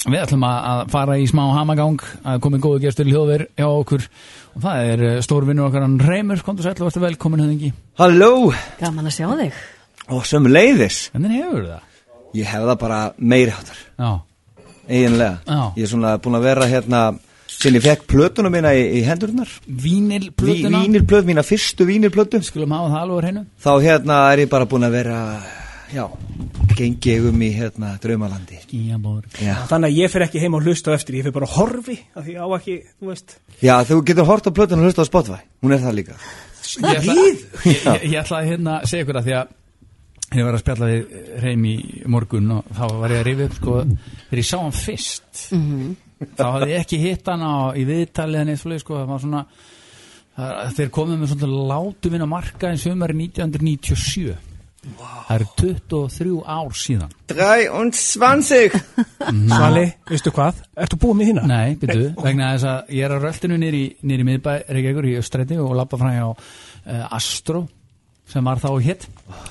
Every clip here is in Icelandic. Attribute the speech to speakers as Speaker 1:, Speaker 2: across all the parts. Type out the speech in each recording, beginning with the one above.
Speaker 1: Við ætlum að að fara í smá hamagang að komið góðu gestur í hljóðver hjá okkur og það er eh, stór vinnur okkar hann Reymur, komdu sæll og varstu velkomin höfðingi
Speaker 2: Halló,
Speaker 3: Gaman að sjá þig
Speaker 2: og sömu leiðis
Speaker 1: Hvernig hefur það?
Speaker 2: Ég hef það bara meiri hátar,
Speaker 1: Já,
Speaker 2: eiginlega
Speaker 1: Já.
Speaker 2: Ég er svona búin að vera hérna Sinn ég fekk plötuna mína í, í hendurnar Ví-
Speaker 1: vínilplötuna
Speaker 2: Vínirplöt, mína fyrstu vínirplötu
Speaker 1: Skulum hafa það alveg á hreinu
Speaker 2: Þá hérna er ég bara búin að vera Já, gengi ég um í hérna draumalandi
Speaker 1: Gíaborg
Speaker 2: Já,
Speaker 4: Þannig að ég fer ekki heim og hlusta á eftir, ég fer bara að horfi af því ég á ekki, þú veist
Speaker 2: Já þú getur hort á plötuna og hlusta á Spotify Hún er það líka
Speaker 1: Ég ætla- ég- ég- ég ætla að hérna segja ykkur að því að ég var að spjalla við Reym í morgun og þá var ég að rifja upp sko þegar ég sá hann fyrst
Speaker 2: Mhm.
Speaker 1: þá hafði ég ekki hitt hann á, í viðtalið hann eitthvað sko, það var svona það- þeir komið með svona látum inn á marka í sumari 1997 það eru 23 ár síðan
Speaker 2: 23
Speaker 4: Svali, veistu hvað, ertu búið með hína?
Speaker 1: Nei, byrju, vegna þess að ég er á röltinu nýri, nýri miðbæ Reykjavíkur í Östræti og lappa fram hjá uh, Astro sem var þá hitt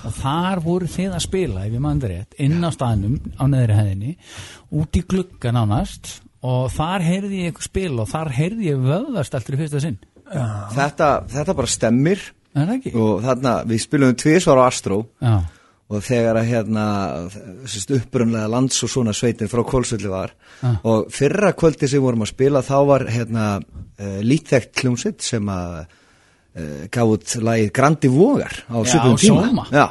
Speaker 1: og þar voru þið að spila ef ég maður rétt, inn á staðnum á neðri hæðinni, út í glugga nánast og þar heyrði ég eitthvað spil og þar heyrði ég vöðast alltaf í fyrsta sinn,
Speaker 2: þetta, þetta bara stemmir
Speaker 1: er það ekki?
Speaker 2: Og þarna, við spilum um tvisvar á Astro
Speaker 1: Já,
Speaker 2: og þegar að hérna sérst, upprunlega lands og svona sveitin frá Kólsvöldu var
Speaker 1: Ah.
Speaker 2: og fyrra kvöldi sem við vorum að spila þá var hérna uh, lítækt kljómsveit sem að uh, gaf út lagið Grandi Vogar á
Speaker 1: Já,
Speaker 2: svipum tíma
Speaker 1: Sóma.
Speaker 2: Já,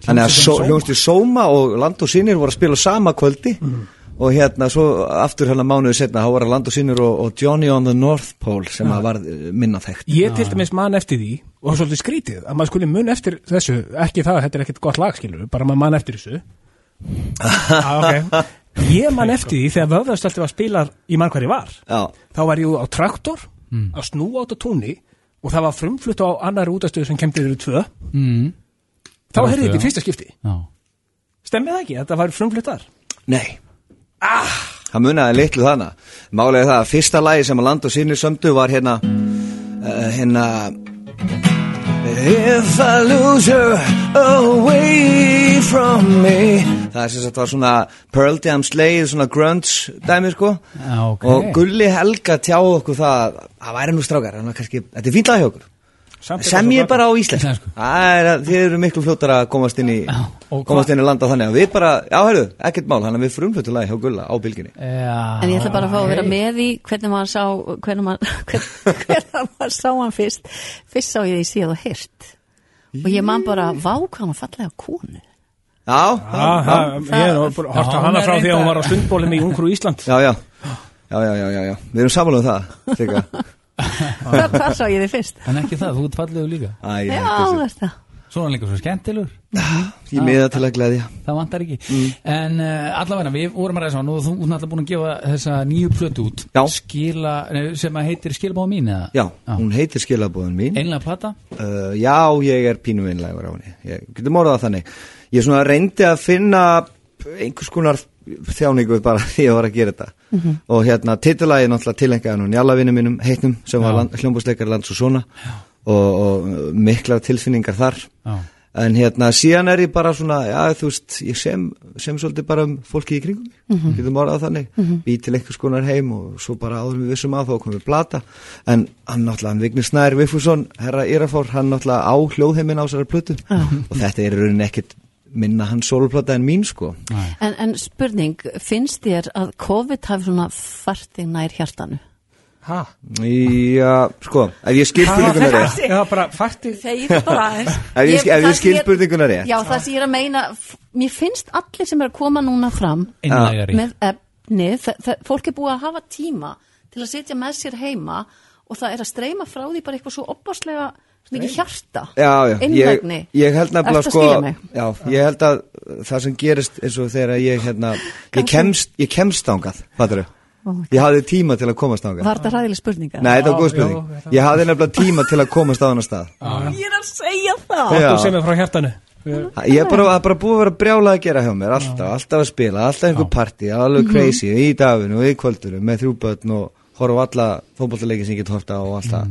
Speaker 2: þannig að
Speaker 1: Hljómsveitin
Speaker 2: só,
Speaker 1: Sóma.
Speaker 2: hljómsveit Sóma og Land og Sýnir voru að spila sama kvöldi
Speaker 1: Mm.
Speaker 2: og hérna svo aftur hérna mánuðu setna þá var að Land og Sýnir og, og Johnny on the North Pole sem að var eh, minna þekkt
Speaker 4: Ég til dæmis man eftir því, og það er svolítið skrítið, að maður skuli mun eftir þessu, ekki það, að þetta er ekkert gott lag, skilur, bara maður man eftir þessu ah, ok, Ég man eftir því þegar vöðastöldi var spilar í mann hvar ég var
Speaker 2: Já,
Speaker 4: Þá var ég á traktor, að snúa át á túnni og það var frumflutt á annar útastöðu sem kemdi yfir tvö
Speaker 1: mm,
Speaker 4: Þá
Speaker 1: Það varstu,
Speaker 4: heyrði þetta
Speaker 1: já.
Speaker 4: í fyrsta skipti,
Speaker 1: já.
Speaker 4: stemmið það ekki, þetta var frumfluttar
Speaker 2: Nei ah! Það munaði litlu þarna Málega það að fyrsta lagi sem að land og sinni sömdu var hérna uh, Hérna If I lose her away from me Það er sem sagt var svona Pearl Jam sleið, svona grunge dæmi sko
Speaker 1: Já, ok.
Speaker 2: Og Gulli Helga tjáði okkur það að Það væri nú strákar, þannig að kannski Þetta er fínt lag hjá okkur
Speaker 4: Samt er
Speaker 2: sem
Speaker 4: þetta
Speaker 2: ég
Speaker 4: svo
Speaker 2: bara á íslensku
Speaker 1: Íslensku.
Speaker 2: Það er að þið eru miklu fljóttar að komast inn í
Speaker 1: og
Speaker 2: komast
Speaker 1: hvað-
Speaker 2: inn í landa þannig að við bara, já heyrðu, ekkert mál þannig að við frumfljóttu lagi hjá Gulla á bylginni
Speaker 1: Já,
Speaker 3: En ég ætla bara að fá að vera með í hvernig maður sá hvernig maður, hvern- hvernig maður sá hann fyrst Fyrst sá ég því síðan og heyrt Og ég man bara, vá hvað hann var fallega konu
Speaker 2: Já,
Speaker 4: Já,
Speaker 2: já,
Speaker 4: það- Ah, ég er bara hort á
Speaker 1: Já,
Speaker 4: hana
Speaker 1: hún er
Speaker 4: frá því að hún
Speaker 1: reyndar-
Speaker 4: var á stundbólum í Ungrú Ísland
Speaker 2: já, já Já, já, já, já, já, við erum samanlega um það Sigga.
Speaker 3: Hvað hvað sá ég því fyrst?
Speaker 1: En ekki það, þú ert fallegu líka
Speaker 2: Æ, ég
Speaker 3: Já,
Speaker 2: hætti
Speaker 3: það
Speaker 2: þessu.
Speaker 3: er það
Speaker 1: Svo er hann líka svo skemmtilur
Speaker 2: Ég miða til að gleðja
Speaker 1: það vantar ekki
Speaker 3: Mm.
Speaker 1: en uh, allavega við vorum að ræða saman og þú ert náttúrulega búin að gefa þessa nýju plötu út
Speaker 2: Já.
Speaker 1: Skila, nei, sem að heitir skilabóð mín eða
Speaker 2: Já, hún heitir skilabóðin mín
Speaker 1: einlega plata
Speaker 2: uh, Já, ég er pínum einlægur á henni Ég getum orðað það þannig Ég svona reyndi að finna einhvers konar þjáningu bara því að ég var að gera þetta og hérna titulagið náttúrulega tilengjaði nú njálavinu mínum heitnum sem var land, hljómbúsleikar lands og svona og, og uh, miklar tilfinningar þar
Speaker 1: já.
Speaker 2: en hérna síðan er ég bara svona já þú veist, ég sem, sem svolítið bara um fólki í kringum mig, getum orðað þannig bý til einhvers konar heim og svo bara áður við vissum að þá komum við plata en hann náttúrulega, hann Vignir Snær Viffusson herra Írafór, hann náttúrulega á hljóðheimin á sér plötu og þetta er í rauninni ekkit minna hann sólplata en mín sko
Speaker 3: en, en spurning, finnst þér að COVID hafi svona fartið nær hjartanu?
Speaker 4: Hæ?
Speaker 2: já, sko, ef ég skil spurninguna rétt
Speaker 4: Já, bara farti
Speaker 3: Þegar ég bara aðeins
Speaker 2: Ef ég skil- ef ég
Speaker 3: það sem
Speaker 2: skil spurninguna rétt.
Speaker 3: Já, það sem ég er að meina f- Mér finnst allir sem er að koma núna fram
Speaker 1: einlegari
Speaker 3: með efni, það, það, fólk er búið að hafa tíma til að sitja með sér heima og það er að streyma frá því bara eitthvað svo opaslega, svona ekki hjarta
Speaker 2: já, já, ég,
Speaker 3: innlægni
Speaker 2: ég held nefnilega
Speaker 3: Ertu að
Speaker 2: sko,
Speaker 3: skilja mig?
Speaker 2: já, ég held að uh, það sem gerist eins og þegar ég hérna, ég kemst, ég kemst þangað, fattur
Speaker 3: my
Speaker 2: ég hafði tíma til að komast þangað
Speaker 3: Var þetta ræðileg spurninga?
Speaker 2: Nei, þetta var
Speaker 4: Já,
Speaker 2: góð
Speaker 4: já,
Speaker 2: spurning,
Speaker 4: þetta-
Speaker 2: ég hafði nefnilega tíma til að komast á annar stað
Speaker 3: Ég er að segja það
Speaker 2: Já.
Speaker 4: Þú sem er frá hjartanu
Speaker 2: Ég er bara, það er bara búið að vera brjálað að gera hjá mér alltaf, alltaf að spila, alltaf einhver partí
Speaker 3: Mhm.
Speaker 2: alveg crazy, í daginu og í kvöldunum með þrjú börn og horfa á alla fótballtaleiki sem ég get horta og alltaf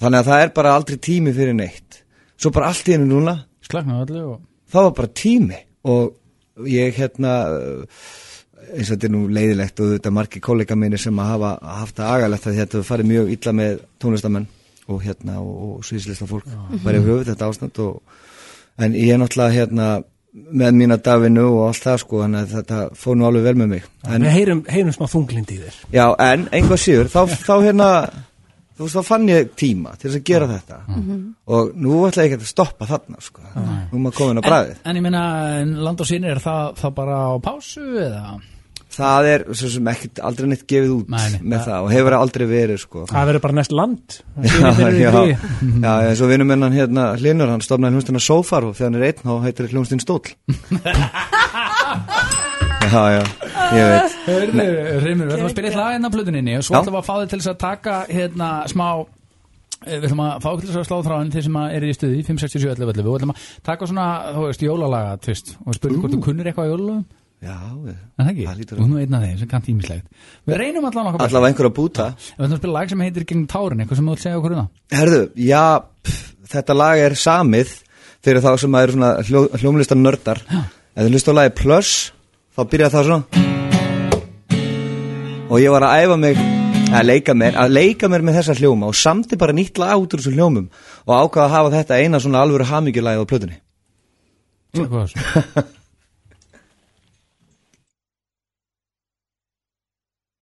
Speaker 2: þannig að það er bara aldrei tími fyrir neitt svo bara allt í hennu núna
Speaker 1: slagnaði öllu og
Speaker 2: það var bara tími og ég hérna uh, eins og þetta er nú leiðilegt og þetta margir kollega minni sem að hafa haft það agalegt að þetta hefur farið mjög illa með tónlistamenn og hérna og, og sviðslista fólk bara hefur höfuð þetta ástand og, en ég er náttúrulega hérna með mína dagvinnu og allt það sko þannig að þetta fór nú alveg vel með mig en,
Speaker 4: Við heyrum, heyrum smá þunglindi í þér
Speaker 2: já en einhvað síður þá, þá hérna þú veist þá fann ég tíma til þess að gera þetta og nú ætla ég ekki að stoppa þarna sko nú er maður komin á bræðið
Speaker 1: en, en ég meina, en land og sinni er það, það bara á pásu eða?
Speaker 2: Það er svo sem ekkert aldrei neitt gefið út
Speaker 1: Nei, nei.
Speaker 2: með það og hefur aldrei verið sko.
Speaker 4: Það verður bara næst land
Speaker 2: Já,
Speaker 4: Þeir eru í
Speaker 2: já,
Speaker 4: fríi.
Speaker 2: já, eins og vinnum hennan hérna Hlinur, hann stofnaði hljómsdina Sofar og þegar hann er einn þá heitir hljómsdina Stóll Já, já, ég veit
Speaker 1: Hörðu, Reymur, við ætlum að spila eitt lag hérna á plötuninni og svo
Speaker 2: Já.
Speaker 1: ætlum við að fá þig til þess að taka hérna smá eh, við ætlum að fá þig til þess að slá þráin þeir sem að eru í stuði, 5, 6, 7, 11, 11 og ætlum að taka svona, þú veist, jólalaga tvist og spurning hvort þú kunnir eitthvað á jólalögum
Speaker 2: Já, við,
Speaker 1: en það ekki,
Speaker 2: Það lítur
Speaker 1: og hún er einn af þeim sem kann tímislegt við reynum allan okkar best.
Speaker 2: allavega einhver að búta
Speaker 1: við ætlum að spila lag sem heitir gegn tárin, eitthvað sem þú ætlum að segja okkur um það
Speaker 2: Herðu, já, pff, þetta lag er samið fyrir þá sem að eru svona hljó, hljómlistar nördar Ef þið hlustu á lagi Plus, þá byrja það svona Og ég var að æfa mig, að leika mér, að leika mér með þessa hljóma Og samti bara nýtt lag út úr þessum hljómum Og ákvaða að hafa þetta eina svona alvöru hamingjulagið á plötunni
Speaker 1: Svo eitthvað á þessu.